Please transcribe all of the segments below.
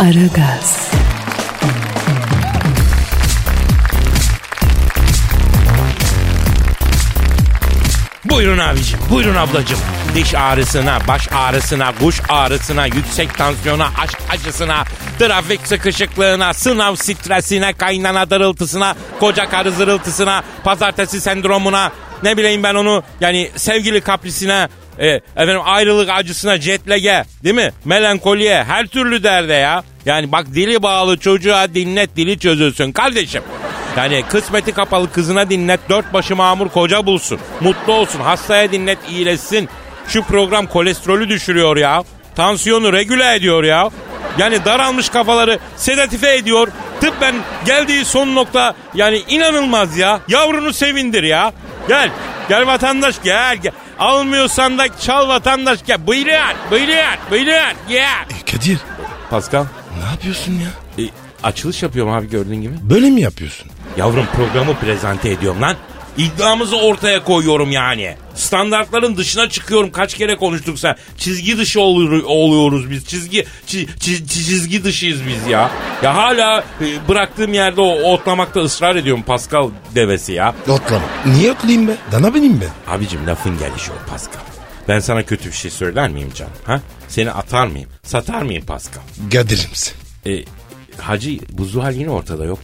Aragaz, Buyurun abicim, buyurun ablacım. Diş ağrısına, baş ağrısına, kuş ağrısına, yüksek tansiyona, aşk acısına, trafik sıkışıklığına, sınav stresine, kaynana darıltısına, koca karı zırıltısına, pazartesi sendromuna, ne bileyim ben onu yani sevgili kaprisine, e, efendim ayrılık acısına, jetlege, değil mi? Melankoliye, her türlü derde ya. Yani bak dili bağlı çocuğa dinlet, dili çözülsün kardeşim. Yani kısmeti kapalı kızına dinlet, dört başı mamur koca bulsun. Mutlu olsun, hastaya dinlet, iyileşsin. Şu program kolesterolü düşürüyor ya. Tansiyonu regüle ediyor ya. Yani daralmış kafaları sedatife ediyor. Tıbben geldiği son nokta yani inanılmaz ya. Yavrunu sevindir ya. Gel, gel vatandaş gel. gel. Almıyorsan da çal vatandaş gel. Buyurun, buyurun, buyurun. Yeah. Kadir Pascal, ne yapıyorsun ya? e, açılış yapıyorum abi gördüğün gibi. Böyle mi yapıyorsun? Yavrum programı prezente ediyorum lan. İddiamızı ortaya koyuyorum yani. Standartların dışına çıkıyorum. Kaç kere konuştuk sen. Çizgi dışı olur- oluyoruz biz. Çizgi çi- çi- çizgi dışıyız biz ya. Ya hala e, bıraktığım yerde o otlamakta ısrar ediyorum Pascal devesi ya. Otlama. Niye otlayayım ben? Dana benim ben. Abicim lafın gelişi o Pascal. Ben sana kötü bir şey söyler miyim canım? Ha? Seni atar mıyım? Satar mıyım Pascal? Kadir'imsin. E, Hacı bu Zuhal yine ortada yok.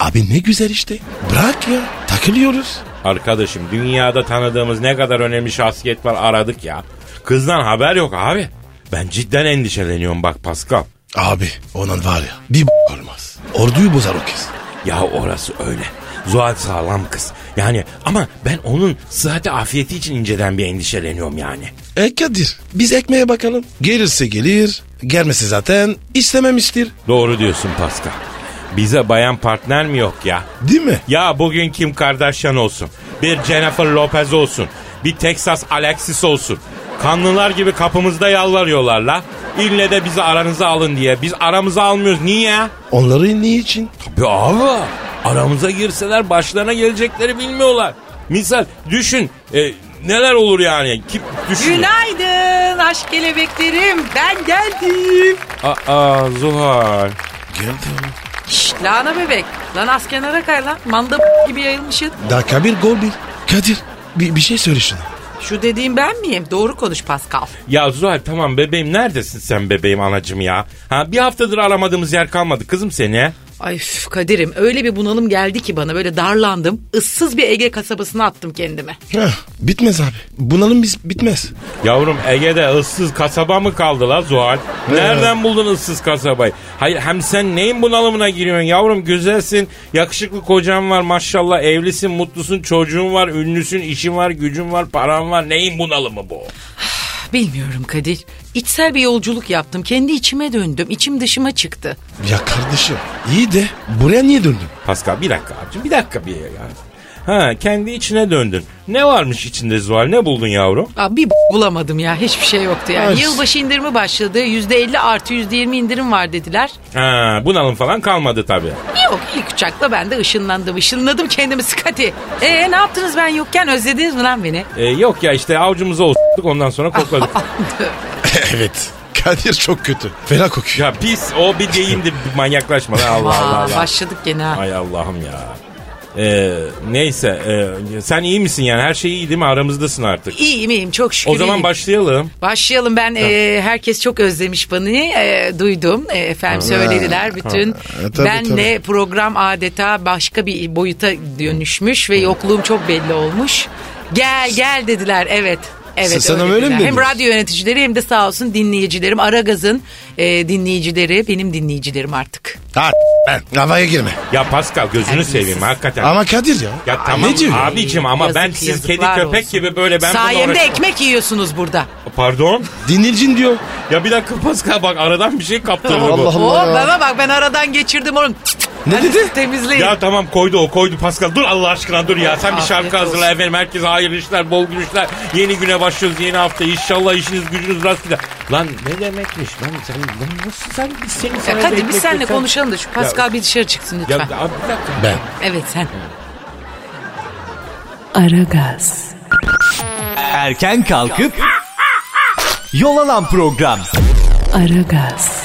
Abi ne güzel işte. Bırak ya. Takılıyoruz. Arkadaşım dünyada tanıdığımız ne kadar önemli şahsiyet var aradık ya. Kızdan haber yok abi. Ben cidden endişeleniyorum bak Pascal. Abi onun var ya bir b- olmaz. Orduyu bozar o kız. Ya orası öyle. Zuhal sağlam kız. Yani ama ben onun sıhhati afiyeti için inceden bir endişeleniyorum yani. E Kadir biz ekmeğe bakalım. Gelirse gelir. Gelmesi zaten istememiştir. Doğru diyorsun Pascal. Bize bayan partner mi yok ya? Değil mi? Ya bugün Kim Kardashian olsun. Bir Jennifer Lopez olsun. Bir Texas Alexis olsun. Kanlılar gibi kapımızda yalvarıyorlar la. İlle de bizi aranıza alın diye. Biz aramıza almıyoruz. Niye? Onları niçin? Tabii abi. Aramıza girseler başlarına gelecekleri bilmiyorlar. Misal düşün. e, neler olur yani? Kim düşün? Günaydın aşk kelebeklerim ben geldim. Aa Zuhal. Geldim. Şşt lahana bebek. Lan az kenara kay lan. Manda gibi yayılmışsın. Dakika bir gol bir. Kadir bir, bir şey söyle şuna. Şu dediğim ben miyim? Doğru konuş Pascal. Ya Zuhal tamam bebeğim neredesin sen bebeğim anacım ya? Ha bir haftadır aramadığımız yer kalmadı kızım seni. Ay üf, Kadir'im öyle bir bunalım geldi ki bana böyle darlandım. Issız bir Ege kasabasına attım kendimi. Heh, bitmez abi. Bunalım biz bitmez. Yavrum Ege'de ıssız kasaba mı kaldı la Zuhal? Nereden buldun ıssız kasabayı? Hayır hem sen neyin bunalımına giriyorsun yavrum? Güzelsin, yakışıklı kocan var maşallah, evlisin, mutlusun, çocuğun var, ünlüsün, işin var, gücün var, paran var. Neyin bunalımı bu? Bilmiyorum Kadir. İçsel bir yolculuk yaptım. Kendi içime döndüm. İçim dışıma çıktı. Ya kardeşim iyi de buraya niye döndün? Pascal bir dakika abicim, bir dakika bir ya. Ha kendi içine döndün. Ne varmış içinde Zuhal? Ne buldun yavrum? Aa, bir b- bulamadım ya. Hiçbir şey yoktu yani. Ay. Yılbaşı indirimi başladı. %50 artı %20 indirim var dediler. Ha bunalım falan kalmadı tabii. Yok ilk uçakla ben de ışınlandım. Işınladım kendimi Skati. Ee ne yaptınız ben yokken özlediniz mi lan beni? Ee, yok ya işte avcumuza osuttuk ondan sonra kokladık. evet. Kadir çok kötü. Fena kokuyor. ya pis o bir deyimdir manyaklaşma lan Allah Allah Aa, Allah. başladık gene ha. Ay Allah'ım ya. Ee, neyse ee, sen iyi misin yani her şey iyi değil mi aramızdasın artık. İyiyim iyiyim çok şükür. O zaman iyiyim. başlayalım. Başlayalım ben e, herkes çok özlemiş beni E, duydum E, efendim söylediler bütün e, tabii, benle program adeta başka bir boyuta dönüşmüş ve yokluğum çok belli olmuş gel gel dediler evet Evet, Sen- sana öyle mi dediler. Hem dediler? radyo yöneticileri hem de sağ olsun dinleyicilerim. Aragaz'ın e, dinleyicileri benim dinleyicilerim artık. Ha ben havaya girme. Ya Pascal gözünü Terbiyesiz. seveyim hakikaten. Ama Kadir ya. ya tamam Ne diyor? ya? abicim ama Yazık, ben siz kedi yazıklar köpek olsun. gibi böyle ben bununla Sayemde uğraşamam. ekmek yiyorsunuz burada. Pardon? Dinleyicin diyor. Ya bir dakika Pascal bak aradan bir şey kaptırdı bu. Allah Oo, Allah ya. bana bak ben aradan geçirdim onu. Ne Hadi dedi? siz Temizleyin. Ya tamam koydu o koydu Pascal. Dur Allah aşkına dur ya. Sen bir Afiyet şarkı olsun. hazırla efendim. Herkese hayırlı işler, bol gülüşler. Yeni güne başlıyoruz yeni hafta. İnşallah işiniz gücünüz rast gider. Lan ne demekmiş lan sen lan nasıl sen biz senin Ya sana Kadir ekmek biz seninle versen- konuşalım da şu Pascal bir dışarı çıksın Ya lütfen. abi bir dakika. Ben. evet sen. Aragaz, Erken kalkıp yol alan program. Aragaz,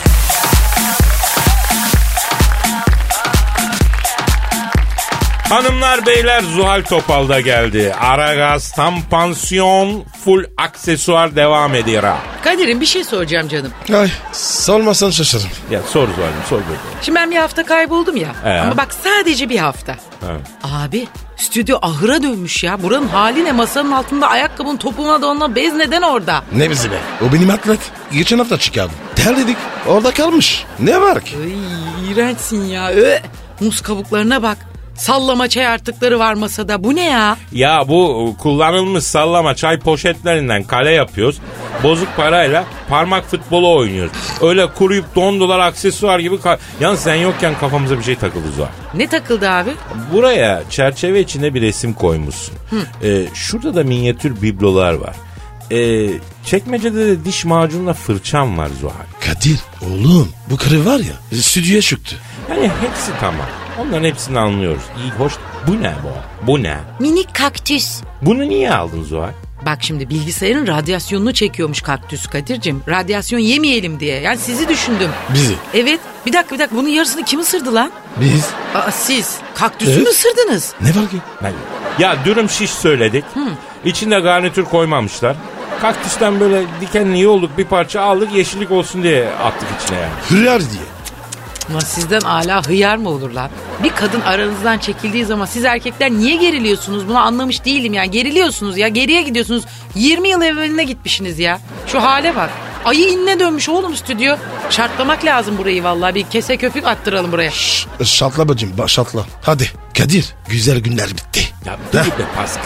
Hanımlar beyler Zuhal Topal da geldi. Aragaz tam pansiyon full aksesuar devam ediyor ha. Kadir'im bir şey soracağım canım. Ay sormasan şaşırırım. Ya sor Zuhal'im sor bakalım. Şimdi ben bir hafta kayboldum ya. Ee? Ama bak sadece bir hafta. Evet. Abi stüdyo ahıra dönmüş ya. Buranın hali ne masanın altında ayakkabının topuğuna donla bez neden orada? Ne bizi be? O benim atlet. Geçen hafta çıkardım. Terledik. Orada kalmış. Ne var ki? Ay iğrençsin ya. Ö. Muz kabuklarına bak. Sallama çay artıkları var masada. Bu ne ya? Ya bu e, kullanılmış sallama çay poşetlerinden kale yapıyoruz. Bozuk parayla parmak futbolu oynuyoruz. Öyle kuruyup don dolar aksesuar gibi. ka- Yalnız sen yokken kafamıza bir şey takıldı Zuhal. Ne takıldı abi? Buraya çerçeve içinde bir resim koymuşsun. Ee, şurada da minyatür biblolar var. Ee, çekmecede de diş macunla fırçam var Zuhal. Kadir oğlum bu karı var ya stüdyoya çöktü. Yani Hani hepsi tamam. Onların hepsini anlıyoruz. İyi, hoş. Bu ne bu? Bu ne? Minik kaktüs. Bunu niye aldın Zuhal? Bak şimdi bilgisayarın radyasyonunu çekiyormuş kaktüs Kadir'cim. Radyasyon yemeyelim diye. Yani sizi düşündüm. Bizi. Evet. Bir dakika bir dakika bunun yarısını kim ısırdı lan? Biz. Aa, siz kaktüsü Evet. mü ısırdınız? Ne var ki? Ben- Ya dürüm şiş söyledik. İçinde garnitür koymamışlar. Kaktüsten böyle dikenli yolduk bir parça aldık yeşillik olsun diye attık içine yani. Hürriyar diye. Ulan sizden ala hıyar mı olur lan? Bir kadın aranızdan çekildiği zaman siz erkekler niye geriliyorsunuz? Bunu anlamış değilim yani. Geriliyorsunuz ya. Geriye gidiyorsunuz. 20 yıl evveline gitmişsiniz ya. Şu hale bak. Ayı inine dönmüş oğlum stüdyo. Şartlamak lazım burayı vallahi. Bir kese köpük attıralım buraya. Şşş. Şatla bacım ba- şatla. Hadi Kadir güzel günler bitti. Ya Heh, dur be Pascal.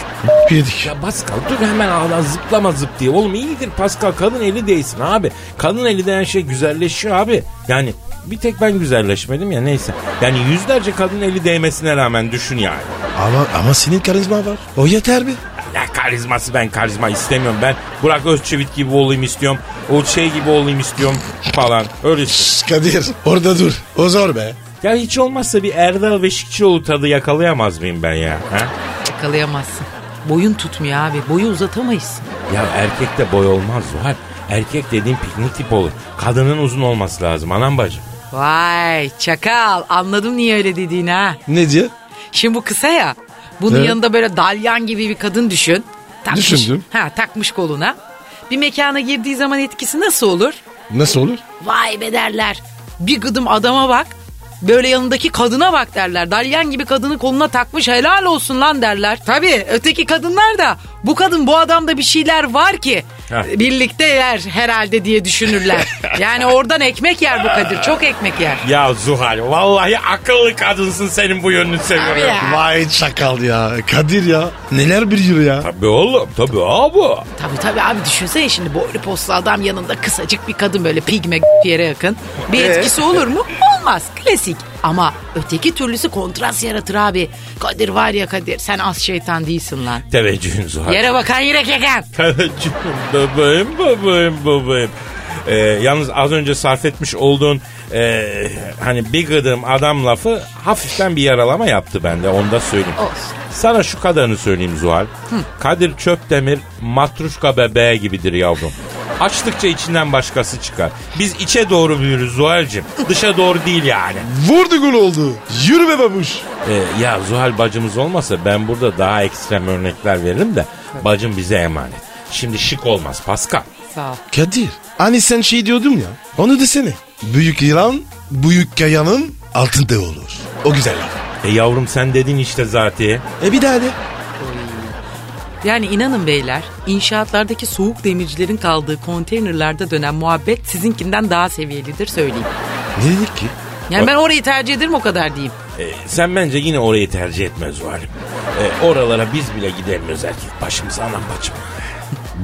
yedik. Ya Pascal dur hemen ağla zıplama zıp diye. Oğlum iyidir Pascal kadın eli değsin abi. Kadın eli denen şey güzelleşiyor abi. Yani bir tek ben güzelleşmedim ya neyse. Yani yüzlerce kadın eli değmesine rağmen düşün yani. Ama, ama senin karizma var. O yeter mi? Ya karizması ben karizma istemiyorum. Ben Burak Özçivit gibi olayım istiyorum. O şey gibi olayım istiyorum falan. Öyle istiyorum. Şş, Kadir orada dur. O zor be. Ya hiç olmazsa bir Erdal ve Şikçioğlu tadı yakalayamaz mıyım ben ya? Ha? Yakalayamazsın. Boyun tutmuyor abi. Boyu uzatamayız. Ya erkekte boy olmaz Zuhal. Erkek dediğin piknik tip olur. Kadının uzun olması lazım anam bacım. Vay çakal. Anladım niye öyle dediğini ha. Ne diye? Şimdi bu kısa ya. Bunun Evet. yanında böyle dalyan gibi bir kadın düşün. Takmış, Düşündüm. Ha takmış koluna. Bir mekana girdiği zaman etkisi nasıl olur? Nasıl olur? Vay be derler. Bir gıdım adama bak. Böyle yanındaki kadına bak derler. Dalyan gibi kadını koluna takmış helal olsun lan derler. Tabii öteki kadınlar da bu kadın bu adamda bir şeyler var ki Heh. birlikte yer herhalde diye düşünürler. yani oradan ekmek yer bu Kadir. Çok ekmek yer. Ya Zuhal vallahi akıllı kadınsın senin bu yönünü seviyorum. Abi ya. Vay çakal ya. Kadir ya. Neler bir yürü ya. Tabii oğlum tabii abi. Tabii tabii abi düşünsene şimdi boylu poslu adam yanında kısacık bir kadın böyle pigme yere yakın. Bir etkisi olur mu? Olmaz klasik. Ama öteki türlüsü kontrast yaratır abi. Kadir var ya Kadir sen az şeytan değilsin lan. Teveccühün Zuhal. Yere bakan yürek yakan. Karacığım bebeğim bebeğim bebeğim. Ee, yalnız az önce sarf etmiş olduğun e, hani bir gıdığım adam lafı hafiften bir yaralama yaptı bende onu da söyleyeyim. Olsun. Sana şu kadarını söyleyeyim Zuhal. Kadir Çöpdemir matruşka bebeğe gibidir yavrum. Açtıkça içinden başkası çıkar. Biz içe doğru büyürüz Zuhal'cim. Dışa doğru değil yani. Vurdu gol oldu. Yürü be babuş. Ee, ya Zuhal bacımız olmasa ben burada daha ekstrem örnekler veririm de bacım bize emanet. Şimdi şık olmaz Pascal. Sağ ol. Kadir. Hani sen şey diyordun ya. Onu desene. Büyük yılan, büyük kayanın altında olur. O güzel laf. E yavrum sen dedin işte zaten. E bir daha de. Yani inanın beyler inşaatlardaki soğuk demircilerin kaldığı konteynerlarda dönen muhabbet sizinkinden daha seviyelidir söyleyeyim. Ne dedik ki? Yani ben orayı tercih ederim o kadar diyeyim. E, sen bence yine orayı tercih etmez valim. E, oralara biz bile gidemiyoruz erkek başımıza anam bacım.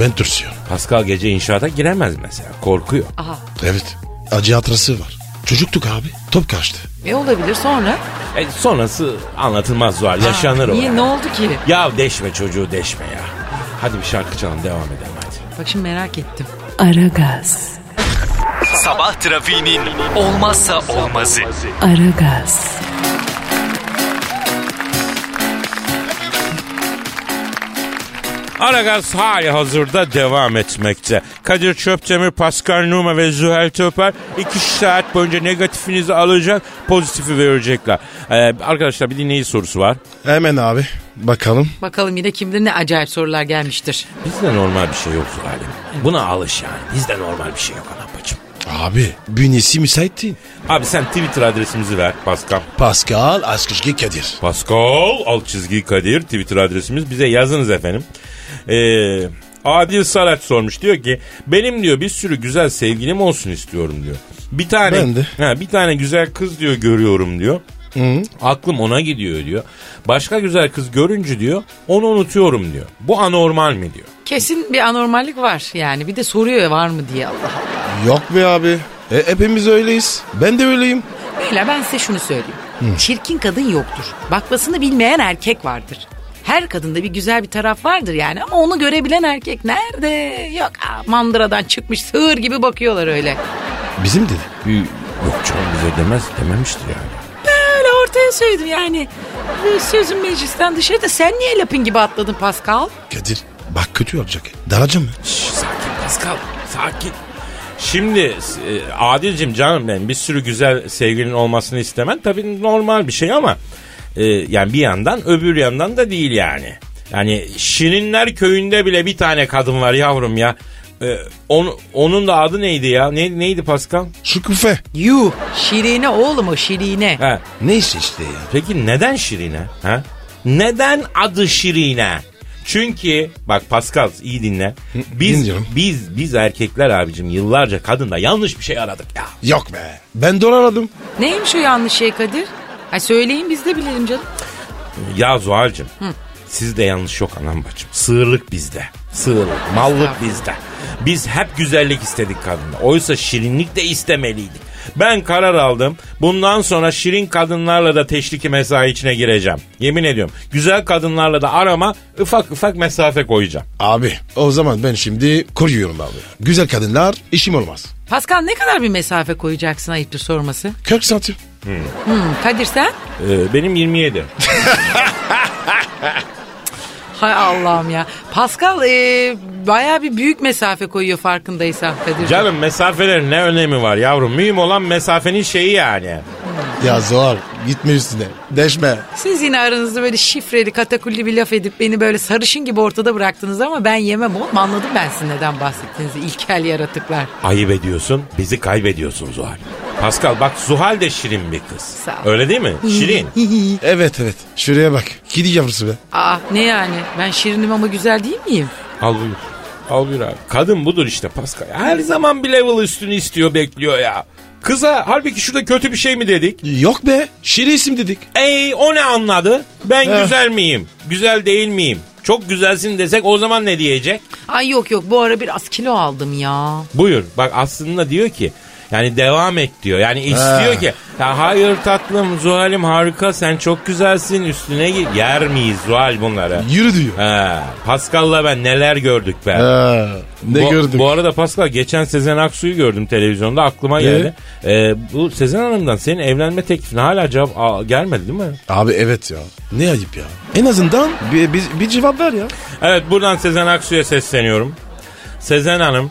Ben tırsıyorum. Pascal gece inşaata giremez mesela korkuyor. Aha. Evet. Acı hatırası var. Çocuktuk abi. Top kaçtı. E olabilir sonra? E, sonrası anlatılmaz var yaşanır o. Ah, Niye ne oldu ki? Ya deşme çocuğu deşme ya. Hadi bir şarkı çalalım devam edelim hadi. Bak şimdi merak ettim. Aragaz, Sabah trafiğinin olmazsa olmazı. Aragaz, Aragaz hali hazırda devam etmekte. Kadir Çöptemir, Pascal Numa ve Zühal Töper iki saat boyunca negatifinizi alacak, pozitifi verecekler. Ee, arkadaşlar bir dinleyici sorusu var. Hemen abi. Bakalım. Bakalım yine kimdir ne acayip sorular gelmiştir. Bizde normal bir şey yok Zühal'im. Buna alış yani. Bizde normal bir şey yok anapacım. Abi bünyesi müsait değil. Abi sen Twitter adresimizi ver Pascal. Pascal Askışki Kadir. Pascal alt çizgi Kadir Twitter adresimiz bize yazınız efendim. Ee, Adil Sarat sormuş diyor ki benim diyor bir sürü güzel sevgilim olsun istiyorum diyor. Bir tane Ben de. Ha, bir tane güzel kız diyor görüyorum diyor. Aklım ona gidiyor diyor. Başka güzel kız görünce diyor onu unutuyorum diyor. Bu anormal mi diyor. Kesin bir anormallik var yani. Bir de soruyor var mı diye Allah Allah. Yok be abi. E, hepimiz öyleyiz. Ben de öyleyim. Beyler ben size şunu söyleyeyim. Çirkin kadın yoktur. Bakmasını bilmeyen erkek vardır. Her kadında bir güzel bir taraf vardır yani ama onu görebilen erkek nerede? Yok aa, mandıradan çıkmış sığır gibi bakıyorlar öyle. Bizim dedi. Yok canım bize demez dememiştir yani. Öyle ortaya söyledim yani. Bu Sözün meclisten dışarıda sen niye lapın gibi atladın Pascal? Kadir bak kötü olacak. Daraca mı? Şş, sakin Pascal sakin. Şimdi e, Adil'cim canım benim bir sürü güzel sevgilin olmasını istemen tabii normal bir şey ama e, yani bir yandan öbür yandan da değil yani. Yani Şirinler köyünde bile bir tane kadın var yavrum ya. E, onu- onun da adı neydi ya? Ne, neydi Pascal? Şükufe. Yuh şirine oğlum o şirine. Ha, Neyse işte ya. Peki neden Şirine? Ha? Neden adı Şirine? Çünkü bak Pascal iyi dinle. Biz dinliyorum. biz biz erkekler abicim yıllarca kadında yanlış bir şey aradık ya. Yok be. Ben dolar aradım. Neymiş o yanlış şey Kadir? Ay söyleyin biz de bilelim canım. Ya Zuhal'cim sizde yanlış yok anam bacım. Sığırlık bizde. Sığırlık, mallık bizde. Biz hep güzellik istedik kadında. Oysa şirinlik de istemeliydik. Ben karar aldım. Bundan sonra şirin kadınlarla da teşriki mesai içine gireceğim. Yemin ediyorum. Güzel kadınlarla da arama ufak ufak mesafe koyacağım. Abi o zaman ben şimdi koruyorum abi. Güzel kadınlar işim olmaz. Pascal ne kadar bir mesafe koyacaksın ayıptır sorması? 40 santim. Hmm, Kadir sen? Ee, benim 27. Hay Allah'ım ya. Pascal e, bayağı bir büyük mesafe koyuyor farkındaysan Kadir. Canım mesafelerin ne önemi var yavrum? Mühim olan mesafenin şeyi yani. Ya zor. Gitme üstüne. Deşme. Siz yine aranızda böyle şifreli katakulli bir laf edip beni böyle sarışın gibi ortada bıraktınız ama ben yemem oğlum anladım ben sizin neden bahsettiğinizi ilkel yaratıklar. Ayıp ediyorsun, bizi kaybediyorsun Zuhal. Pascal bak Zuhal de şirin bir kız. Sağ ol. Öyle değil mi? Şirin. Evet evet. Şuraya bak. Kedi yavrusu be. Aa Ah, ne yani ben şirinim ama güzel değil miyim? Al buyur. Al buyur abi. Kadın budur işte Pascal. Her zaman bir level üstünü istiyor bekliyor ya. Kıza halbuki şurada kötü bir şey mi dedik? Yok be. Şiri isim dedik. Ey o ne anladı? Ben Heh. güzel miyim? Güzel değil miyim? Çok güzelsin desek o zaman ne diyecek? Ay yok yok bu ara biraz kilo aldım ya. Buyur. Bak aslında diyor ki yani devam et diyor. Yani istiyor ki ya hayır tatlım Zuhal'im harika sen çok güzelsin üstüne git. Yer miyiz Zuhal bunları? Yürü diyor. Ha, Pascal'la ben neler gördük be. Ha, ne bu, gördük? Bu arada Pascal geçen Sezen Aksu'yu gördüm televizyonda aklıma geldi. Ee, bu Sezen Hanım'dan senin evlenme teklifine hala cevap a- gelmedi değil mi? Abi evet ya. Ne ayıp ya. En azından bir, bir, bir cevap ver ya. Evet buradan Sezen Aksu'ya sesleniyorum. Sezen Hanım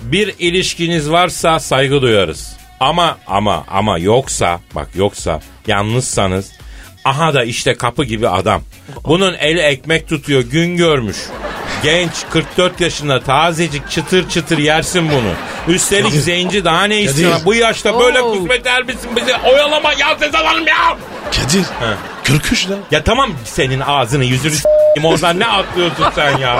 bir ilişkiniz varsa saygı duyarız. Ama ama ama yoksa bak yoksa yalnızsanız aha da işte kapı gibi adam. Bunun eli ekmek tutuyor gün görmüş. Genç 44 yaşında tazecik çıtır çıtır yersin bunu. Üstelik zenci daha ne istiyor? Kadir. Bu yaşta böyle Oo. kısmet misin bizi oyalama ya Sezen Hanım ya. Kadir. Kırkış lan. Ya tamam senin ağzını yüzünü s- oradan ne atlıyorsun sen ya?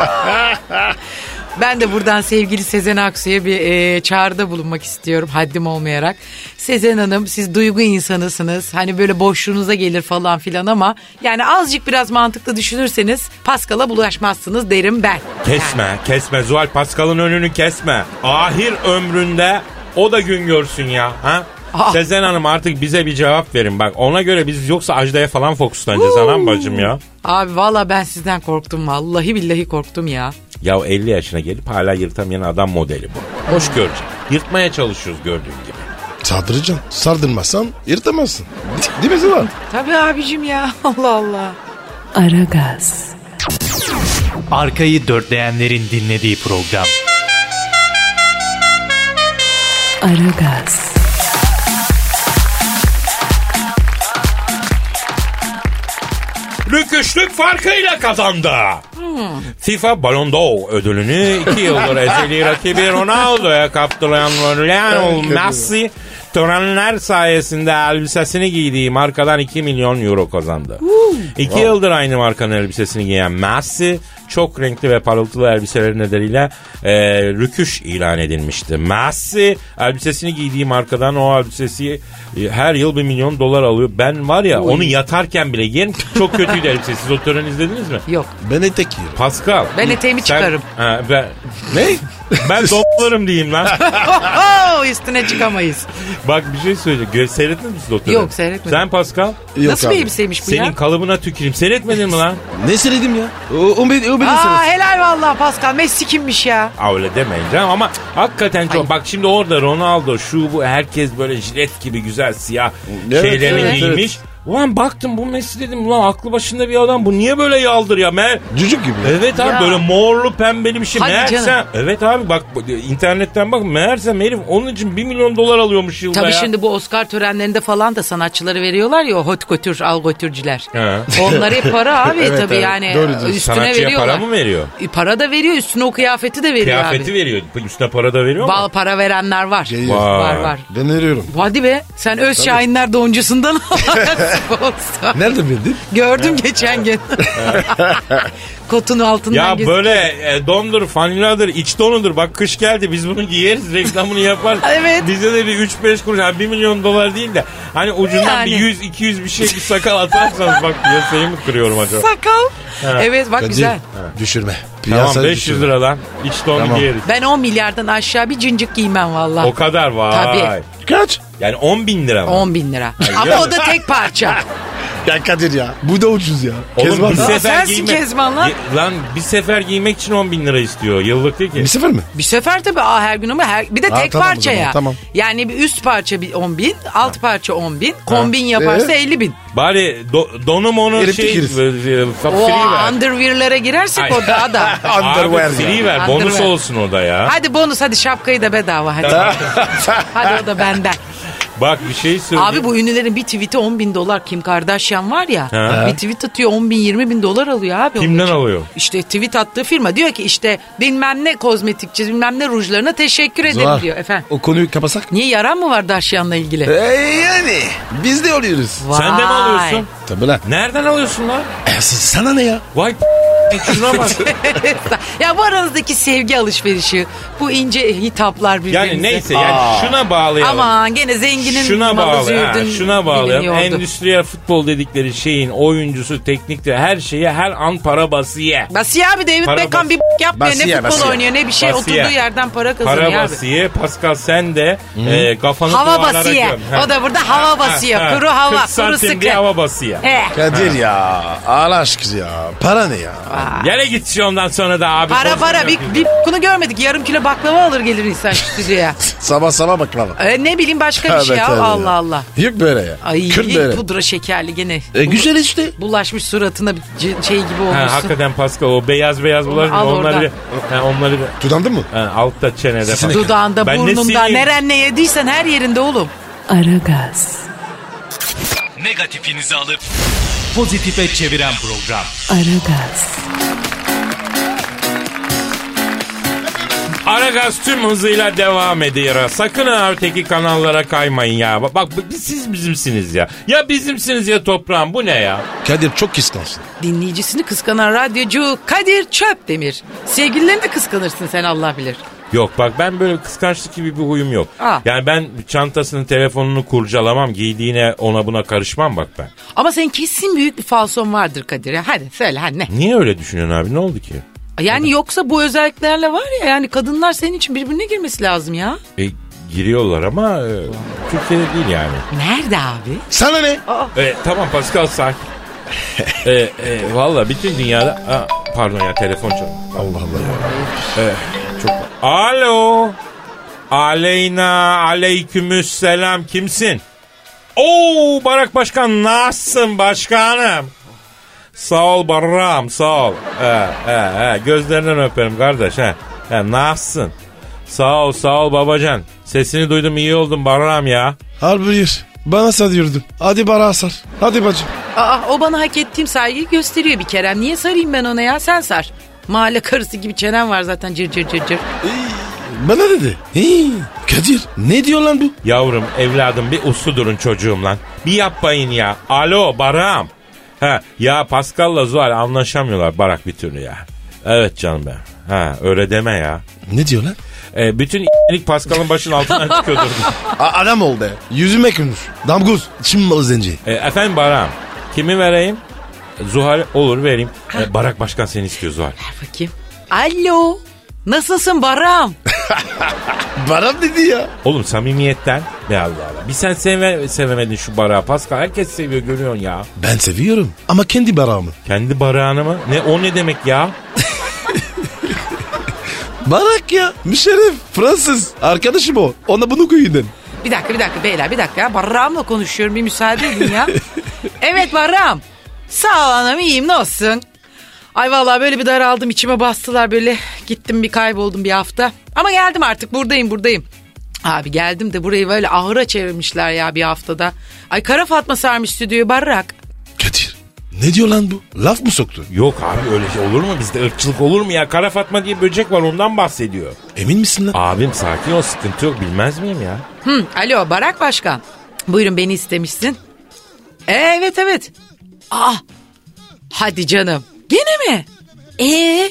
Ben de buradan sevgili Sezen Aksu'ya bir e, çağrıda bulunmak istiyorum haddim olmayarak. Sezen Hanım siz duygu insanısınız. Hani böyle boşluğunuza gelir falan filan ama yani azıcık biraz mantıklı düşünürseniz Paskal'a bulaşmazsınız derim ben. Kesme kesme Zuhal Pascal'ın önünü kesme. Ahir ömründe o da gün görsün ya. Ha? Aa. Sezen Hanım artık bize bir cevap verin bak. Ona göre biz yoksa Ajda'ya falan fokuslanacağız anam bacım ya. Abi valla ben sizden korktum vallahi billahi korktum ya. Ya 50 yaşına gelip hala yırtamayan adam modeli bu. Hoş görecek. Yırtmaya çalışıyoruz gördüğün gibi. Sardıracaksın. Sardırmazsan yırtamazsın. De- Değil mi Zıvan? Tabii abicim ya Allah Allah. Aragaz, Arkayı dörtleyenlerin dinlediği program. Aragaz, Rüküşlük farkıyla kazandı. FIFA Ballon d'Or ödülünü iki yıldır ezeli rakibi Ronaldo'ya kaptıran Lionel Messi törenler sayesinde elbisesini giydiği markadan 2 milyon euro kazandı. 2 yıldır aynı markanın elbisesini giyen Messi çok renkli ve parıltılı elbiseleri nedeniyle e, rüküş ilan edilmişti. Messi elbisesini giydiği markadan o elbisesi e, her yıl 1 milyon dolar alıyor. Ben var ya onu yatarken bile giyerim. Çok kötüydü elbise. Siz o töreni izlediniz mi? Yok Ben etek giyiyorum. Pascal. Ben eteğimi sen- çıkarım. Ha, ben, ne? Ben toplarım diyeyim lan. Oho, üstüne çıkamayız. Bak bir şey söyleyeceğim. Gö- Seyrettin mi siz doktoru? Yok, seyretmedim. Sen Pascal Yok Nasıl abi. bir elbiseymiş bu senin ya? kalıbına tüküreyim. Seyretmedin mi lan? Ne seyredim ya? O, o, ben- o benim Aa seyredim. helal vallahi Pascal Messi kimmiş ya? Aa, Öyle demeyeceğim ama hakikaten çok. Ay. Bak şimdi orada Ronaldo şu bu herkes böyle jilet gibi güzel siyah Evet, şeylerini evet, giymiş. Ulan baktım bu Messi dedim ulan aklı başında bir adam bu niye böyle yaldır ya? Mer Cücük gibi. Evet abi Ya. böyle morlu pembeli bir şey. Hadi Meğerse, canım. Evet abi bak bu- internetten bak meğerse herif onun için 1 milyon dolar alıyormuş yılda Tabii ya. şimdi bu Oscar törenlerinde falan da sanatçıları veriyorlar ya o hot götür al götürcüler. He. Onlara hep para abi Evet, tabii evet. yani Doğru diyorsun. üstüne Sanatçıya veriyorlar. para mı veriyor? E, Para da veriyor üstüne o kıyafeti de veriyor Kıyafeti abi. veriyor. Üstüne para da veriyor mu? Bal para verenler var. Geliyor. Vay. Var var. Ben veriyorum. Hadi be sen öz şahinler doncusundan olsa. Nerede bildin? Gördüm geçen gün. Kotun altından Ya gez- böyle e, dondur, faniladır, iç donudur. Bak kış geldi biz bunu giyeriz, reklamını yapar. Evet. Bize de bir 3-5 kuruş, yani 1 milyon dolar değil de hani ucundan Yani. bir 100-200 bir şey bir sakal atarsanız bak piyasayı mı kırıyorum acaba? Sakal. Evet bak güzel. Kadir, Düşürme. Tamam Piyasayı 500 düşürme. liradan iç donu Tamam. giyeriz. Ben 10 milyardan aşağı bir cincik giymem valla. O kadar vay. Tabii. Kaç? Yani 10 bin lira mı? 10 bin lira. Ama o da tek parça. Ya Kadir ya. Bu da ucuz ya. Oğlum Kezban bir ya. sefer Sensin giymek- Kezban lan. Ye- Lan bir sefer giymek için 10 bin lira istiyor. Yıllık değil ki. Bir sefer mi? Bir sefer tabii aa, her gün ama her, bir de Aa, tek tamam o parça zaman, ya. tamam. Yani bir üst parça bir 10 bin, alt parça 10 bin, kombin yaparsa Ee? 50 bin. Bari do, donu monu Elektrik şey... girsin. e, e, fa- O free ver. underwear'lere girersek Ay. o daha da. Underwear Abi ya. free ver. Bonus Underwear. olsun o da ya. hadi bonus hadi şapkayı da bedava hadi. hadi o da benden. Bak bir şey söyleyeyim. Abi bu ünlülerin bir tweet'i 10 bin dolar. Kim Kardashian var ya. He. Bir tweet atıyor 10 bin 20 bin dolar alıyor abi. onun Kimden için. alıyor? İşte tweet attığı firma diyor ki işte bilmem ne kozmetikçi bilmem ne rujlarına teşekkür ederim Var. diyor efenım. O konuyu kapasak. Niye yaran mı var Daşyan'la ilgili? Ee, yani. Biz de oluyoruz. Sen de mi Vay. alıyorsun? Tabii lan. Nereden alıyorsun lan? E, s- sana ne ya? Vay şuna bak. ya bu aranızdaki sevgi alışverişi, bu ince hitaplar birbirimize. Yani neyse yani şuna bağlayalım. Aman gene zenginin şuna malı bağlı, ha, züğürdün şuna bağlayalım. biliniyordu. Endüstriyel futbol dedikleri şeyin oyuncusu, teknikte her şeye her an para basıya. Basiye abi David Para Beckham bas- bir b- yapmıyor. Basiye, ne futbol basiye. oynuyor ne bir şey. Basiye. Oturduğu yerden para kazanıyor Para abi. basiye. Pascal sen de e, kafanı Hava duvarlara basiye. göm. Ha. O da burada hava basiye. ha. Kuru hava, 40 kuru santim bir sıkı. E, hava basiye. He. Kadir ya. Allah aşkına ya. Para ne ya? Yere git şu ondan sonra da abi. Para Bozma para bir, yapayım. bir bunu görmedik. Yarım kilo baklava alır gelir insan stüdyoya. Sabah sabah baklava. e, ne bileyim başka bir şey Tövbe ya. tövbe ya. Allah Allah. Yok böyle ya. Ay Kürt böyle. pudra şekerli gene. E, güzel işte. Bulaşmış suratına bir c- şey gibi Ha, olmuşsun. hakikaten Pascal o beyaz beyaz bular Al onları oradan. bir, ha, onları bir, Dudandın mı? ha, altta çenede falan. Dudağında, Ben ne burnunda, sineyim? neren ne yediysen her yerinde oğlum. Aragaz, Negatifinizi alıp pozitife çeviren program. Aragaz, Ara Aragaz tüm hızıyla devam ediyor. Sakın ha öteki kanallara kaymayın ya. Bak, bak bu- siz bizimsiniz ya. Ya bizimsiniz ya toprağım bu ne ya? Kadir çok kıskansın. Dinleyicisini kıskanan radyocu Kadir Çöpdemir. Sevgililerini de kıskanırsın sen Allah bilir. Yok bak ben böyle kıskançlık gibi bir huyum yok. Aa. Yani ben çantasını telefonunu kurcalamam giydiğine ona buna karışmam bak ben. Ama senin kesin büyük bir falson vardır Kadir. ya. Hadi söyle hadi ne? Niye öyle düşünüyorsun abi ne oldu ki? Yani yoksa bu özelliklerle var ya yani kadınlar senin için birbirine girmesi lazım ya. E, giriyorlar ama e, Türkiye'de değil yani. Nerede abi? Sana ne? E, tamam Pascal sakin. e, e, Valla bütün dünyada... Aa, pardon ya telefon çalıyor. Allah Allah ya. Çok... Alo. Aleyna aleykümüs selam kimsin? Oo Barak Başkan nasılsın başkanım? Sağ ol Barram sağ ol. He, he, he. Gözlerinden öperim kardeş. He. He, nasılsın? Sağ ol sağ ol babacan. Sesini duydum iyi oldum Barram ya. Harbi bir. Bana sarıyordum. Hadi bana sar. Hadi bacım. Aa o bana hak ettiğim saygıyı gösteriyor bir kere. Niye sarayım ben ona ya sen sar. Mahalle karısı gibi çenen var zaten cır cır cır cır. Bana dedi. Hii, Kadir ne diyor lan bu? Yavrum evladım bir uslu durun çocuğum lan. Bir yapmayın ya. Alo Barak'ım. Ha, ya Pascal'la Zuhal anlaşamıyorlar Barak bir türlü ya. Evet canım benim. Ha, öyle deme ya. Ne diyor lan? E, bütün iyilik Pascal'ın başının altından çıkıyordur. A- adam ol be. Yüzüme kırmış. Damguz. Çin malı zenci. E, efendim Barak'ım. Kimi vereyim? Zuhal olur vereyim. E, Barak Başkan seni istiyor Zuhal. Ver bakayım. Alo. Nasılsın Baram? Bana dedi ya. Oğlum samimiyetten. Be Allah Allah. Bir sen seve, sevemedin şu Barak'ı Pascal. Herkes seviyor görüyorsun ya. Ben seviyorum ama kendi barağımı. Kendi Barak'ını mı? Ne, o ne demek ya? Barak ya. Müşerif. Fransız. Arkadaşım o. Ona bunu koyun dedim. Bir dakika bir dakika beyler bir dakika ya. Barram'la konuşuyorum bir müsaade edin ya. evet Barram. Sağ ol anam iyiyim ne olsun. Ay vallahi böyle bir daraldım içime bastılar böyle. Gittim bir kayboldum bir hafta. Ama geldim artık buradayım buradayım. Abi geldim de burayı böyle ahıra çevirmişler ya bir haftada. Ay Kara Fatma sarmış stüdyoyu Barrak. Kadir. Ne diyor lan bu? Laf mı soktu? Yok abi öyle şey olur mu? Bizde ırkçılık olur mu ya? Kara Fatma diye böcek var ondan bahsediyor. Emin misin lan? Abim sakin ol sıkıntı yok bilmez miyim ya? Hı, alo Barak Başkan. Buyurun beni istemişsin. Ee, evet evet. Ah. Hadi canım. Gene mi? Ee.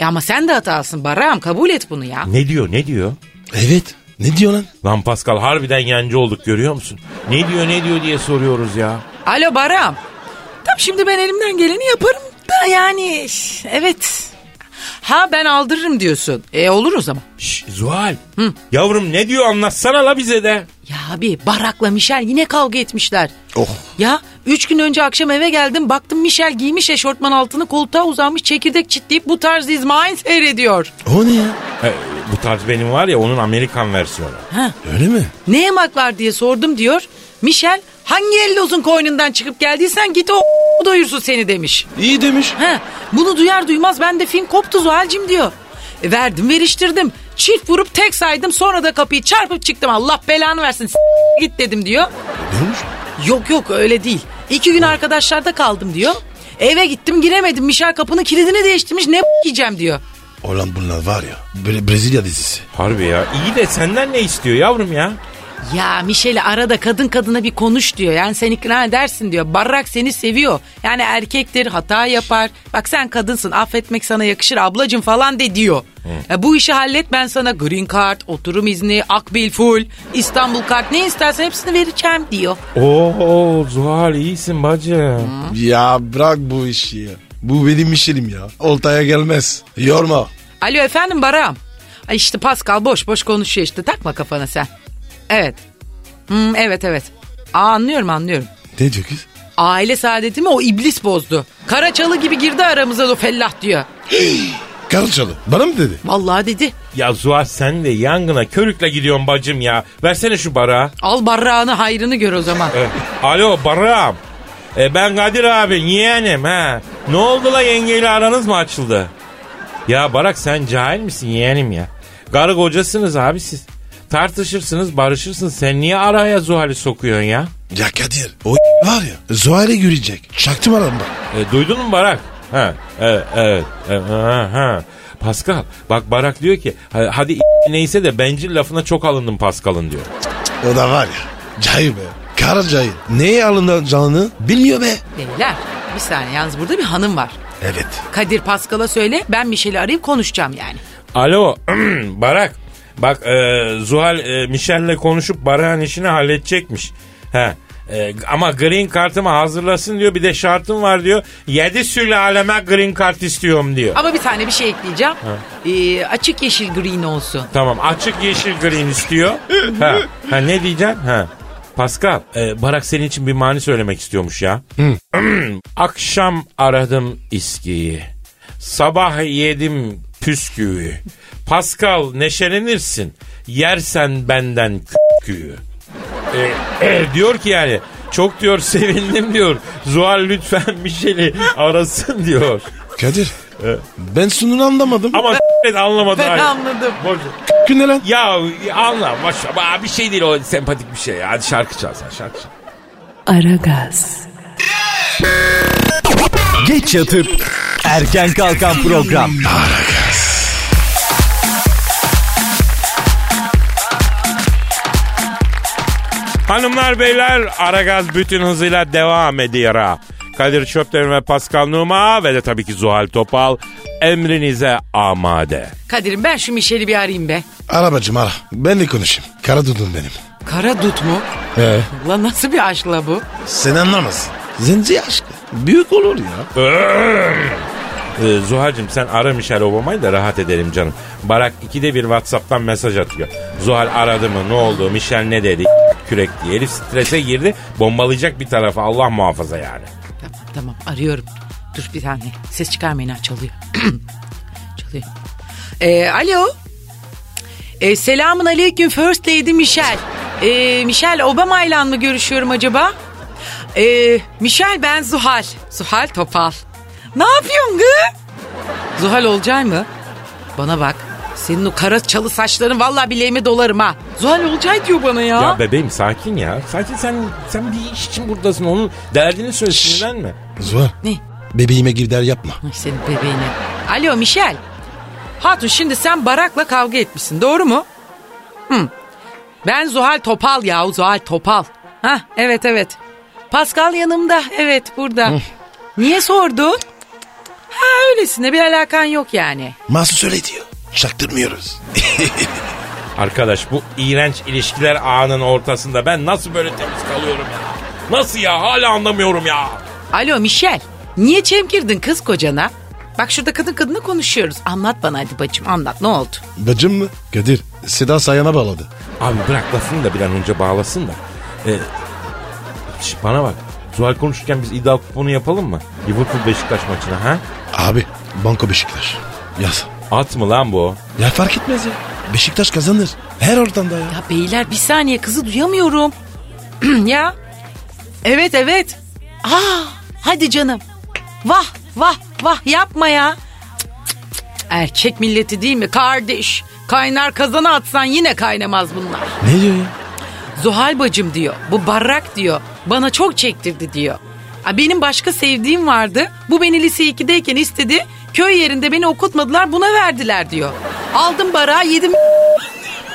E ama sen de hatasın Barak'ım kabul et bunu ya. Ne diyor ne diyor? Evet. Ne diyor lan? Lan Pascal harbiden yancı olduk görüyor musun? Ne diyor ne diyor diye soruyoruz ya. Alo Barak'ım. Tam şimdi ben elimden geleni yaparım da yani şş, evet. Ha ben aldırırım diyorsun. E olur o zaman. Şş, Zuhal. Yavrum ne diyor anlatsana la bize de. Ya abi Barak'la Michel yine kavga etmişler. Oh. Ya üç gün önce akşam eve geldim baktım Michel giymiş eşortman altını koltuğa uzanmış çekirdek çitleyip bu tarz izmain seyrediyor. O ne ya? E, bu tarz benim var ya onun Amerikan versiyonu. Öyle mi? Ne yemek var diye sordum diyor. Michel hangi elle uzun koynundan çıkıp geldiysen git o doyursun seni demiş. İyi demiş. Ha, bunu duyar duymaz ben de film koptu Zuhal'cim diyor. E, verdim veriştirdim. Çift vurup tek saydım sonra da kapıyı çarpıp çıktım Allah belanı versin s- git dedim diyor. Ne olmuş? Yok yok öyle değil. İki gün arkadaşlarda kaldım diyor. Eve gittim giremedim. Mişel kapının kilidini değiştirmiş ne yiyeceğim diyor. Olan bunlar var ya. Böyle Brezilya dizisi. Harbi ya iyi de senden ne istiyor yavrum ya? Ya Mişel'i arada kadın kadına bir konuş diyor. Yani sen ikna edersin diyor. Barrak seni seviyor. Yani erkektir hata yapar. Bak sen kadınsın affetmek sana yakışır ablacım falan de diyor. Ya bu işi hallet ben sana green card, oturum izni, akbil full, İstanbul kart ne istersen hepsini vereceğim diyor. Oo Zuhal iyisin bacım. Ya bırak bu işi ya. Bu benim işim ya. Oltaya gelmez. Yorma. Alo efendim Baram. Ay işte Pascal boş boş konuşuyor işte takma kafana sen. Evet. Hmm, evet evet. Aa, anlıyorum anlıyorum. Ne diyor kız? Aile saadetimi o iblis bozdu. Karaçalı gibi girdi aramıza o fellah diyor. Karıçalı. Bana mı dedi? Vallahi dedi. Ya Zuhal sen de yangına körükle gidiyorsun bacım ya. Versene şu bara. Al barrağını hayrını gör o zaman. E, Alo Baram. E, ben Kadir abi yeğenim ha. Ne oldu la yengeyle aranız mı açıldı? Ya Barak sen cahil misin yeğenim ya? Karı kocasınız abi siz. Tartışırsınız barışırsınız. Sen niye araya Zuhal'i sokuyorsun ya? Ya Kadir o var ya Zuhal'e Eh, görecek. Çaktım adamı. E, duydun mu Barak? Ha, evet, evet, e, ha, ha. Pascal bak Barak diyor ki "Ha- hadi neyse de bencil lafına çok alındım Pascal'ın diyor. O da var ya. Cahil be. Kara cahil. Neye alındı canını bilmiyor be. Beyler bir saniye yalnız burada bir hanım var. Evet. Kadir Paskal'a söyle ben Michel'i arayıp konuşacağım yani. Alo Barak bak e, Zuhal e, Michelle'le konuşup Barak'ın işini halledecekmiş. He. e, ama green kartımı hazırlasın diyor bir de şartım var diyor. Yedi sülaleme green kart istiyorum diyor. Ama bir tane bir şey ekleyeceğim. Ee, açık yeşil green olsun. Tamam açık yeşil green istiyor. ha. ha ne diyeceğim? Ha. Pascal, e, Barak senin için bir mani söylemek istiyormuş ya. Akşam aradım iskiyi. Sabah yedim püsküyü. Pascal neşelenirsin. Yersen benden küsküyü. E, e, diyor ki yani çok diyor sevindim diyor. Zuhal lütfen Michel'i arasın diyor. Kadir. Ben sununu anlamadım. Ama anlamadı. Ben hayır. anladım. Boş- Gün ne lan? ya anla maşallah. Aa, Bir şey değil o sempatik bir şey. ya. Hadi şarkı çal sen şarkı çal. Aragaz, Geç yatıp erken kalkan program. Hanımlar beyler Aragaz bütün hızıyla devam ediyor ha. Kadir Çöpten ve Pascal Numa ve de tabii ki Zuhal Topal emrinize amade. Kadir'im ben şu Michel'i bir arayayım be. Arabacım ara. Ben de konuşayım. Kara dudum benim. Kara dut mu? Ee? Lan nasıl bir aşkla bu? Sen anlamazsın. Zenci aşkı. Büyük olur ya. Ee, Zuhal'cim sen ara Michelle Obama'yı da rahat edelim canım. Barak ikide bir Whatsapp'tan mesaj atıyor. Zuhal aradı mı ne oldu Michelle ne dedi kürek diye. Herif strese girdi bombalayacak bir tarafa Allah muhafaza yani. Tamam tamam arıyorum. Dur bir tane. Ses çıkarmayın ha çalıyor. çalıyor. Ee, alo. Ee, selamun aleyküm First Lady Michelle. Ee, Michelle Obama ile mı görüşüyorum acaba? Ee, Michelle ben Zuhal. Zuhal Topal. Ne yapıyorsun gı? Zuhal olacak mı? Bana bak. Senin o kara çalı saçların vallahi bileğime dolarım ha. Zuhal olacak diyor bana ya. Ya bebeğim sakin ya. Sakin sen sen bir iş için buradasın. Onun derdini söyle sinirlenme. Zuhal. Ne? Bebeğime gider yapma. Ay senin bebeğine. Alo Michel. Hatun şimdi sen Barak'la kavga etmişsin doğru mu? Hı. Ben Zuhal Topal ya Zuhal Topal. Ha evet evet. Pascal yanımda evet burada. Niye sordun? Ha öylesine bir alakan yok yani. Mahsus söyle diyor. Çaktırmıyoruz. Arkadaş bu iğrenç ilişkiler ağının ortasında ben nasıl böyle temiz kalıyorum ya? Nasıl ya? Hala anlamıyorum ya. Alo Michel. Niye çemkirdin kız kocana? Bak şurada kadın kadına konuşuyoruz. Anlat bana hadi bacım anlat ne oldu? Bacım mı? Kadir. Seda sayana bağladı. Abi bırak lafını da bir an önce bağlasın da. Ee, şş, bana bak. Zuhal konuşurken biz iddia kuponu yapalım mı? Liverpool Beşiktaş maçına ha? Abi Banko Beşiktaş. Yaz. At mı lan bu? Ya fark etmez ya. Beşiktaş kazanır. Her ortamda ya. Ya beyler bir saniye kızı duyamıyorum. ya. Evet evet. Aa, hadi canım. Vah vah vah yapma ya. Cık, cık, cık. Erkek milleti değil mi kardeş? Kaynar kazana atsan yine kaynamaz bunlar. Ne diyor ya? Zuhal bacım diyor. Bu barrak diyor. Bana çok çektirdi diyor. Aa, Benim başka sevdiğim vardı. Bu beni lise 2'deyken istedi. Köy yerinde beni okutmadılar buna verdiler diyor. Aldım barağı yedim.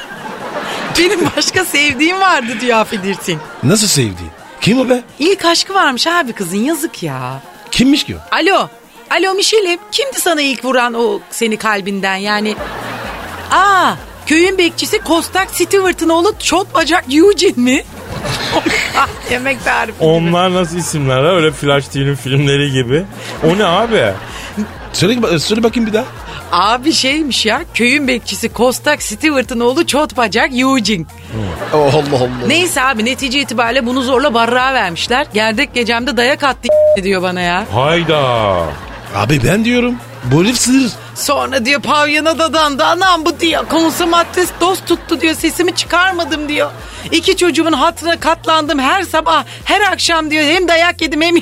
Benim başka sevdiğim vardı diyor affedersin. Nasıl sevdi? Kim o be? İlk aşkı varmış abi kızın yazık ya. Kimmiş ki o? Alo. Alo Mişelim. Kimdi sana ilk vuran o seni kalbinden yani? Aa köyün bekçisi Kostak Stewart'ın oğlu çot bacak Eugene mi? Ah, Yemek tarifi gibi. Onlar nasıl isimler ha? Öyle Flash TV'nin filmleri gibi. O ne abi? Söyle, e, söyle bakayım bir daha. Abi şeymiş ya köyün bekçisi Kostak Stewart'ın oğlu çot bacak Eugene. Oh Allah Allah. Neyse abi netice itibariyle bunu zorla barrağa vermişler. Gerdek gecemde dayak attı diyor bana ya. Hayda. Abi ben diyorum. Bu herif sığır. Sonra diyor pavyona dadandı anam bu diyor. Konsomatris dost tuttu diyor sesimi çıkarmadım diyor. İki çocuğumun hatırına katlandım her sabah her akşam diyor hem dayak yedim hem...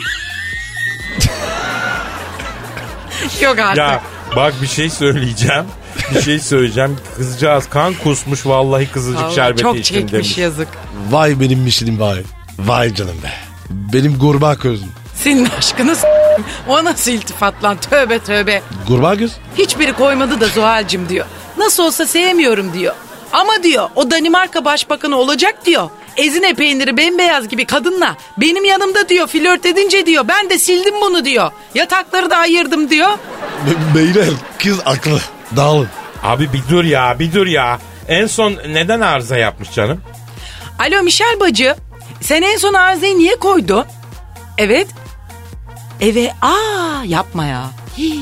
Yok artık. Ya bak bir şey söyleyeceğim. Bir şey söyleyeceğim. Kızcağız kan kusmuş vallahi kızılcık Vallahi şerbeti çok içtim çekmiş demiş. yazık. Vay benim mişilim vay. Vay canım be. Benim gurba közüm. Senin aşkını s- O nasıl iltifat lan tövbe tövbe. Kurbağa göz. Hiçbiri koymadı da Zuhal'cim diyor. Nasıl olsa sevmiyorum diyor. Ama diyor o Danimarka başbakanı olacak diyor. Ezine peyniri bembeyaz gibi kadınla benim yanımda diyor flört edince diyor ben de sildim bunu diyor. Yatakları da ayırdım diyor. Be- beyler kız aklı. Dağılın. Abi bir dur ya bir dur ya. En son neden arıza yapmış canım? Alo Michel bacı sen en son arızayı niye koydun? Evet. Eve aa yapma ya. Hii,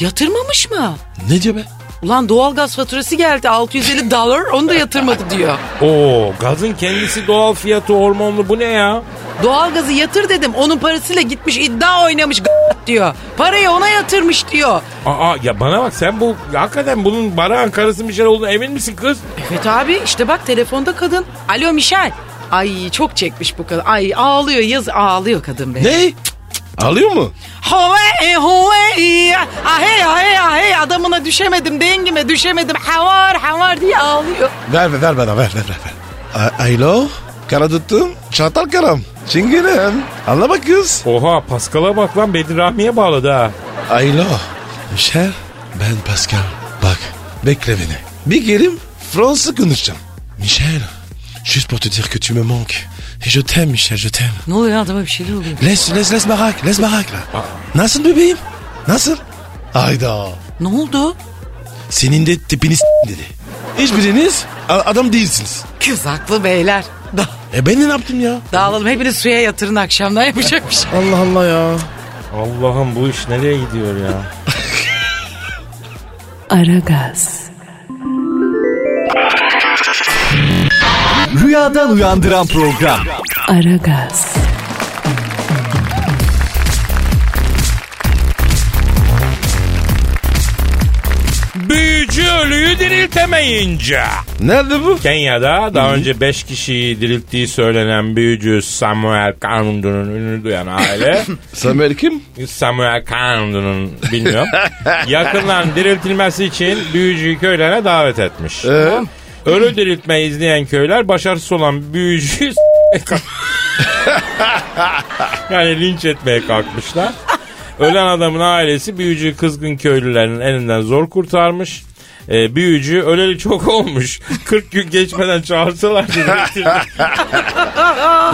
yatırmamış mı? Ne diyor be? Ulan doğalgaz faturası geldi 650 dolar onu da yatırmadı diyor. Oo gazın kendisi doğal fiyatı hormonlu bu ne ya? Doğalgazı yatır dedim. Onun parasıyla gitmiş iddia oynamış g- diyor. Parayı ona yatırmış diyor. Aa ya bana bak sen bu hakikaten bunun bara karısı bir şey olduğunu emin misin kız? Evet abi işte bak telefonda kadın. Alo Michel. Ay çok çekmiş bu kadın. Ay ağlıyor yaz ağlıyor kadın be. Ne? Cık, cık. Alıyor mu? Hove hove ahey ahey ahey adamına düşemedim dengime düşemedim havar havar diye ağlıyor. Ver ver ver bana ver ver ver. ver. A- Alo. Kara tuttum. Çatal karam. Çingenem. Anlama kız. Oha Paskal'a bak lan Bedir Rahmi'ye bağladı ha. Alo. Michel. Ben Pascal. Bak. Bekle beni. Bir gelim. Fransız konuşacağım. Michel. Juste pour te dire que tu me manques. Et je t'aime Michel je t'aime. Ne oluyor adama bir şeyler oluyor. Les les les barak. Les barak la. Nasıl bebeğim? Nasıl? Hayda. Ne oldu? Senin de tipiniz dedi. Hiçbiriniz a- adam değilsiniz. Kız haklı beyler. Da- E ben ne yaptım ya? dağılalım hepiniz suya yatırın akşamdan yapacak bir şey. Allah Allah ya. Allah'ım bu iş nereye gidiyor ya? Aragaz, Rüyadan uyandıran program. Aragaz, Büyücü ölüyü diriltemeyince. Nerede bu? Kenya'da daha önce 5 kişiyi dirilttiği söylenen büyücü Samuel Kanundu'nun ününü duyan aile Samuel kim? Samuel Kanundu'nun bilmiyorum yakınların diriltilmesi için büyücüyü köylerine davet etmiş. Ölü diriltme izleyen köyler başarısız olan büyücüyü s- kalk- yani linç etmeye kalkmışlar. Ölen adamın ailesi büyücüyü kızgın köylülerin elinden zor kurtarmış. Ee, büyücü öleli çok olmuş. 40 gün geçmeden çağırsalar diriltirdi.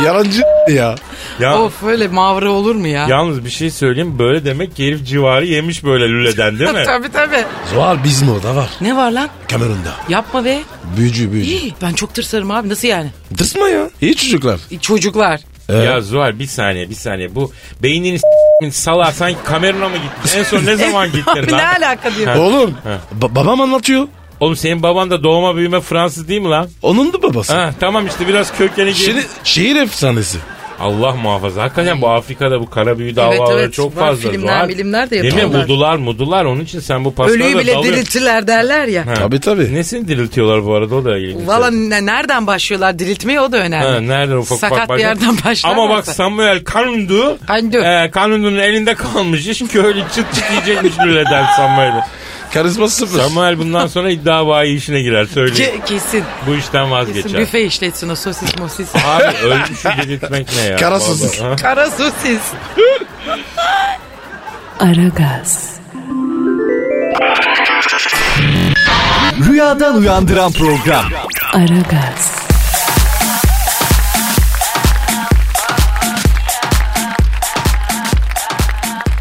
Yalancı ya. ya, Of öyle mavra olur mu ya? Yalnız bir şey söyleyeyim böyle demek ki herif civarı yemiş böyle lüleden değil mi? tabii tabii. Zuhal bizim orada var. Ne var lan? Kamerun'da. Yapma be. Büyücü büyücü. İyi, ben çok tırsarım abi. Nasıl yani? Dırsma ya. İyi çocuklar. Ee, Çocuklar. Ya Zuhal bir saniye bir saniye bu beynini s**min sala sanki kameruna mı gitti? En son ne zaman gittin Abi ne lan? alaka diyor. Oğlum. ba- babam anlatıyor. Oğlum senin baban da doğma büyüme Fransız değil mi lan? Onun da babası. Ha, tamam işte biraz kökeni Şehir, gir. şehir efsanesi. Allah muhafaza. Hakikaten bu Afrika'da bu kara büyü davaları evet. çok Var fazla. filmler, Zuhal. bilimler de Değil mi? yapıyorlar. Mudular mudular onun için sen bu pastaları Ölüyü da bile dalıyorsun. diriltirler derler ya. Ha. Tabii, tabii. Nesini diriltiyorlar bu arada o da ilginç. Valla ne- nereden başlıyorlar diriltmeye o da önemli. Ha, nereden ufak ufak Sakat bir başlar? yerden başlar. Ama bak varsa. Samuel Kanundu, Kanundu. e, Kanundu'nun elinde kalmış. Hiç köylü çıt çıt yiyecekmiş lüleden Samuel'i. Karizması sıfır. Samuel bundan sonra iddiavayı işine girer söyleyeyim. Ke- kesin. Bu işten kesin. vazgeçer. Büfe işletsin o sosis mosis. Abi ölmüşü diriltmek ne ya? Kara Vallahi, sosis. ha? Kara sosis. Aragaz, Rüyadan uyandıran program. Aragaz,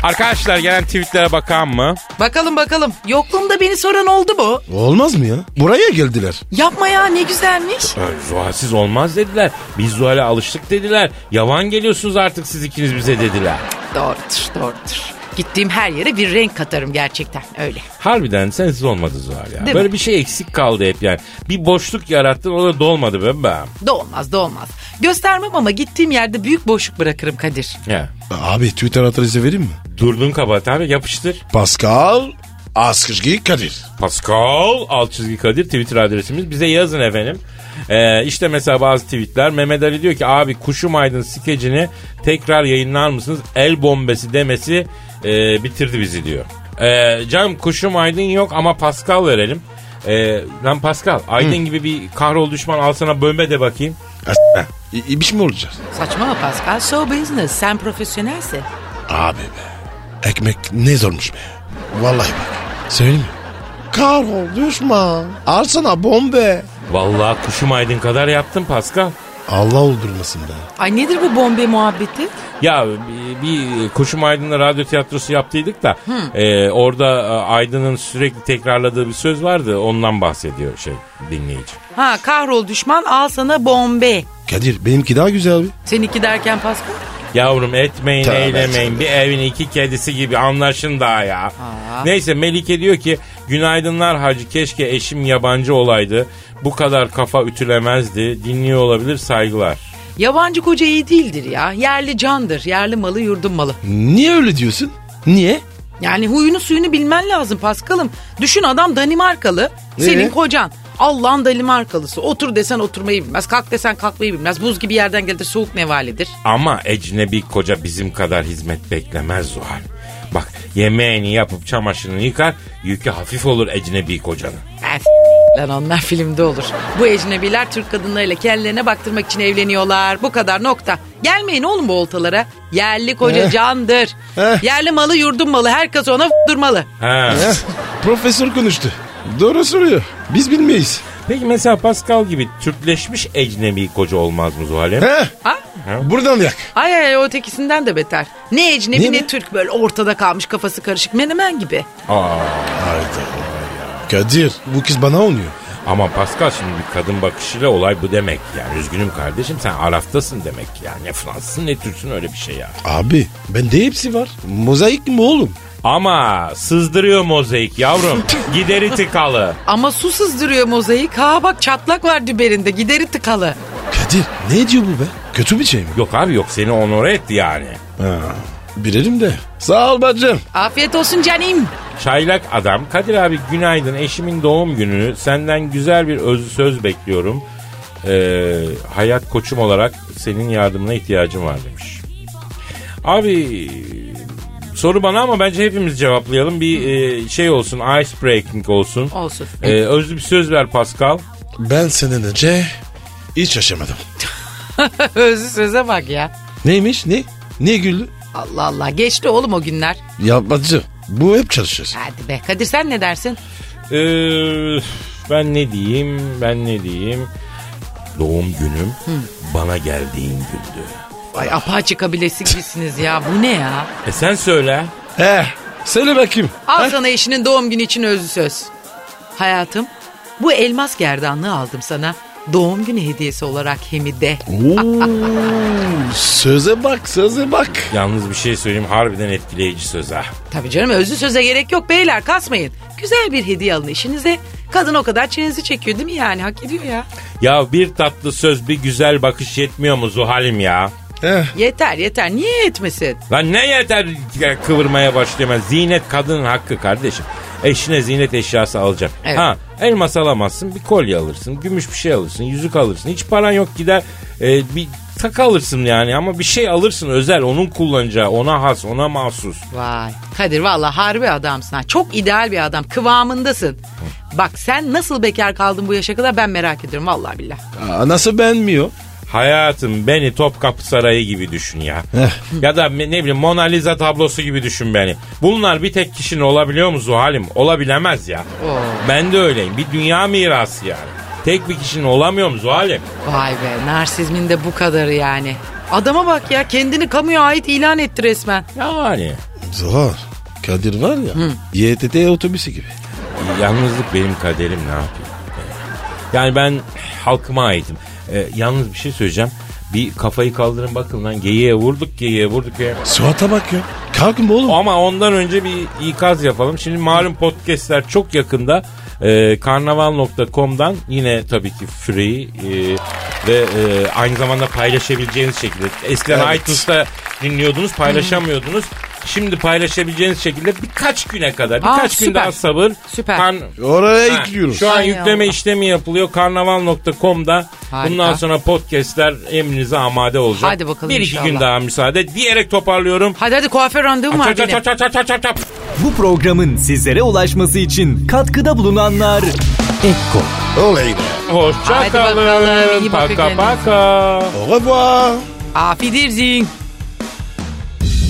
Arkadaşlar gelen tweetlere bakan mı? Bakalım bakalım. Yokluğumda beni soran oldu mu? Olmaz mı ya? Buraya geldiler. Yapma ya ne güzelmiş. Ay, Zuhalsiz olmaz dediler. Biz Zuhal'e alıştık dediler. Yavan geliyorsunuz artık siz ikiniz bize dediler. Doğrudur doğrudur. Gittiğim her yere bir renk katarım gerçekten öyle. Harbiden sensiz olmadı Zuhal ya. Değil Böyle mi? bir şey eksik kaldı hep yani. Bir boşluk yarattın o da dolmadı be ben. Doğmaz doğmaz. Göstermem ama gittiğim yerde büyük boşluk bırakırım Kadir. Ya. Abi Twitter adresi vereyim mi? Durdun kabahat abi yapıştır. Pascal Askışgi Kadir. Pascal alt çizgi Kadir Twitter adresimiz. Bize yazın efendim. Ee, işte mesela bazı tweetler. Mehmet Ali diyor ki abi Kuşum Aydın skecini tekrar yayınlar mısınız? El bombesi demesi e, bitirdi bizi diyor. Ee, canım Kuşum Aydın yok ama Pascal verelim. Ee, lan Pascal Aydın gibi bir kahrol düşman alsana bölme de bakayım. İ- İbiş mi olacağız? Saçma mı Pascal? So business. Sen profesyonelsin. Abi be. Ekmek ne zormuş be. Vallahi bak. Söyleyeyim mi? Karol düşman. Alsana bombe. Vallahi kuşum aydın kadar yaptım Pascal. Allah öldürmesin be. Ay nedir bu bombe muhabbeti? Ya bir, bir Kuşum Aydın'la radyo tiyatrosu yaptıydık da e, orada e, Aydın'ın sürekli tekrarladığı bir söz vardı. Ondan bahsediyor şey dinleyici. Ha kahrol düşman al sana bombe. Kadir benimki daha güzel abi. Seninki derken Pascal? Yavrum etmeyin Tövbe eylemeyin tövbe. bir evin iki kedisi gibi anlaşın daha ya. Aa. Neyse Melike diyor ki günaydınlar hacı keşke eşim yabancı olaydı. Bu kadar kafa ütülemezdi. Dinliyor olabilir saygılar. Yabancı koca iyi değildir ya. Yerli candır. Yerli malı yurdun malı. Niye öyle diyorsun? Niye? Yani huyunu suyunu bilmen lazım Paskal'ım. Düşün adam Danimarkalı. Senin Ee? kocan. Allah'ın Danimarkalısı. Otur desen oturmayı bilmez. Kalk desen kalkmayı bilmez. Buz gibi yerden gelir soğuk nevaledir. Ama ecnebi koca bizim kadar hizmet beklemez Zuhal. Bak yemeğini yapıp çamaşırını yıkar yükü hafif olur ecnebi kocanın. Ben s- Lan onlar filmde olur. Bu ecnebiler Türk kadınlarıyla kendilerine baktırmak için evleniyorlar. Bu kadar nokta. Gelmeyin oğlum bu oltalara. Yerli koca Eh. candır. Eh. Yerli malı yurdun malı. Herkes ona durmalı. Ha. Eh, Profesör konuştu. Doğru soruyor. Biz bilmeyiz. Peki mesela Pascal gibi Türkleşmiş ecnebi koca olmaz mı Zuhal'e? He? Ha? Eh, Buradan yak. Ay ay o tekisinden de beter. Ne ecnebi Niye ne be? Türk böyle ortada kalmış kafası karışık menemen gibi. Hayda. Kadir bu kız bana oynuyor. Ama Pascal şimdi bir kadın bakışıyla olay bu demek yani. Üzgünüm kardeşim sen Araf'tasın demek yani. Ne Fransızsın ne Türksün öyle bir şey ya. Abi bende hepsi var. Mozaik mi oğlum? Ama sızdırıyor mozaik yavrum. Gideri tıkalı. Ama su sızdırıyor mozaik. Ha bak çatlak var düberinde gideri tıkalı. Kadir ne diyor bu be? Kötü bir şey mi? Yok abi yok seni onore etti yani. Ha, bilelim de. Sağ ol bacım. Afiyet olsun canim. Çaylak adam Kadir abi günaydın eşimin doğum gününü senden güzel bir özlü söz bekliyorum. Ee, hayat koçum olarak senin yardımına ihtiyacım var demiş. Abi soru bana ama bence hepimiz cevaplayalım. Bir e, şey olsun ice breaking olsun. Olsun. Eh. Ee, özlü bir söz ver Pascal. Ben senden önce hiç yaşamadım. Özlü söze bak ya. Neymiş ne? Niye güldü? Allah Allah geçti oğlum o günler. Ya bacım bu hep çalışır. Hadi be Kadir sen ne dersin? Ee, ben ne diyeyim ben ne diyeyim. Doğum günüm bana geldiğin gündü. Ay apaçı kabilesi gibisiniz ya bu ne ya? E sen söyle. He söyle bakayım. Al sana eşinin doğum günü için özlü söz. Hayatım bu elmas gerdanlığı aldım sana. Doğum günü hediyesi olarak hemi de. Oo, söze bak söze bak. Yalnız bir şey söyleyeyim harbiden etkileyici söz ha. Tabii canım özlü söze gerek yok beyler kasmayın. Güzel bir hediye alın eşinize. Kadın o kadar çenesi çekiyor değil mi yani hak ediyor ya. Ya bir tatlı söz bir güzel bakış yetmiyor mu Zuhal'im ya? He, Yeter yeter niye etmesin? Lan ne yeter ya kıvırmaya başlayamaz. Zinet kadının hakkı kardeşim. Eşine zinet eşyası alacak. Evet. Ha elmas alamazsın bir kolye alırsın. Gümüş bir şey alırsın. Yüzük alırsın. Hiç paran yok gider e, bir tak alırsın yani ama bir şey alırsın özel onun kullanacağı ona has ona mahsus. Vay Kadir valla harbi adamsın ha. Çok ideal bir adam kıvamındasın. Bak sen nasıl bekar kaldın bu yaşa kadar ben merak ediyorum vallahi billah. anası beğenmiyor. Hayatım beni Topkapı Sarayı gibi düşün ya. ya da ne bileyim Mona Lisa tablosu gibi düşün beni. Bunlar bir tek kişinin olabiliyor mu Zuhal'im? Olabilemez ya. Ben de öyleyim. Bir dünya mirası yani. Tek bir kişinin olamıyor mu Zuhal'im? Vay be narsizmin de bu kadarı yani. Adama bak ya kendini kamuya ait ilan etti resmen. Yani. Zor. Kadir var ya. YTT otobüsü gibi. Yalnızlık benim kaderim ne yapayım? Eh. Yani ben halkıma aitim. Ee, yalnız bir şey söyleyeceğim. Bir kafayı kaldırın bakın lan. Geyiğe vurduk, geyiğe vurduk ya. Suat'a bak ya. Kalkın be oğlum. Ama ondan önce bir ikaz yapalım. Şimdi malum podcastler çok yakında e, karnaval.com'dan yine tabii ki free e, ve e, aynı zamanda paylaşabileceğiniz şekilde. Eskiden Evet. iTunes'ta dinliyordunuz paylaşamıyordunuz. Şimdi paylaşabileceğiniz şekilde birkaç güne kadar Aa, birkaç gün süper. daha sabır. Süper. Oraya Ha, ekliyoruz. Şu an Hay yükleme Allah. işlemi yapılıyor karnaval.com'da. Harika. Bundan sonra podcastler emrinize amade olacak. Hadi bakalım Bir inşallah. iki gün daha müsaade diyerek toparlıyorum. Hadi hadi kuaför randevum var Çap, çap, benim. çap, çap, çap, çap, çap. Bu programın sizlere ulaşması için katkıda bulunanlar Ekko Olay be. Hoşça Haydi bakalım, kalın. iyi bakın Paka kendinize. paka. Au revoir. Afidirsin.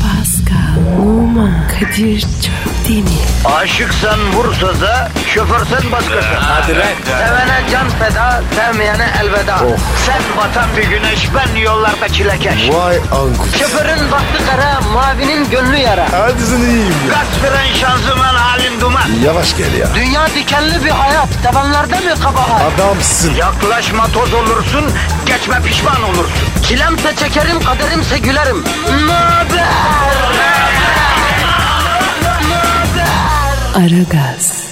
Pascal, Numa Kadir çok değil mi? Aşıksan vursa da, şoförsen başkasın. Hadi lan. Sevene can feda, sevmeyene elveda. Oh. Sen batan bir güneş, ben yollarda çilekeş. Vay anku. Şoförün baktı kara, mavinin gönlü yara. Hadi sen iyiyim ya. Kasperen şanzıman halin duman. Yavaş gel ya. Dünya dikenli bir hayat, sevenlerde mi kabahar? Adamsın. Yaklaşma toz olursun, geçme pişman olursun. Çilemse çekerim, kaderimse gülerim. Möber! Aragaz.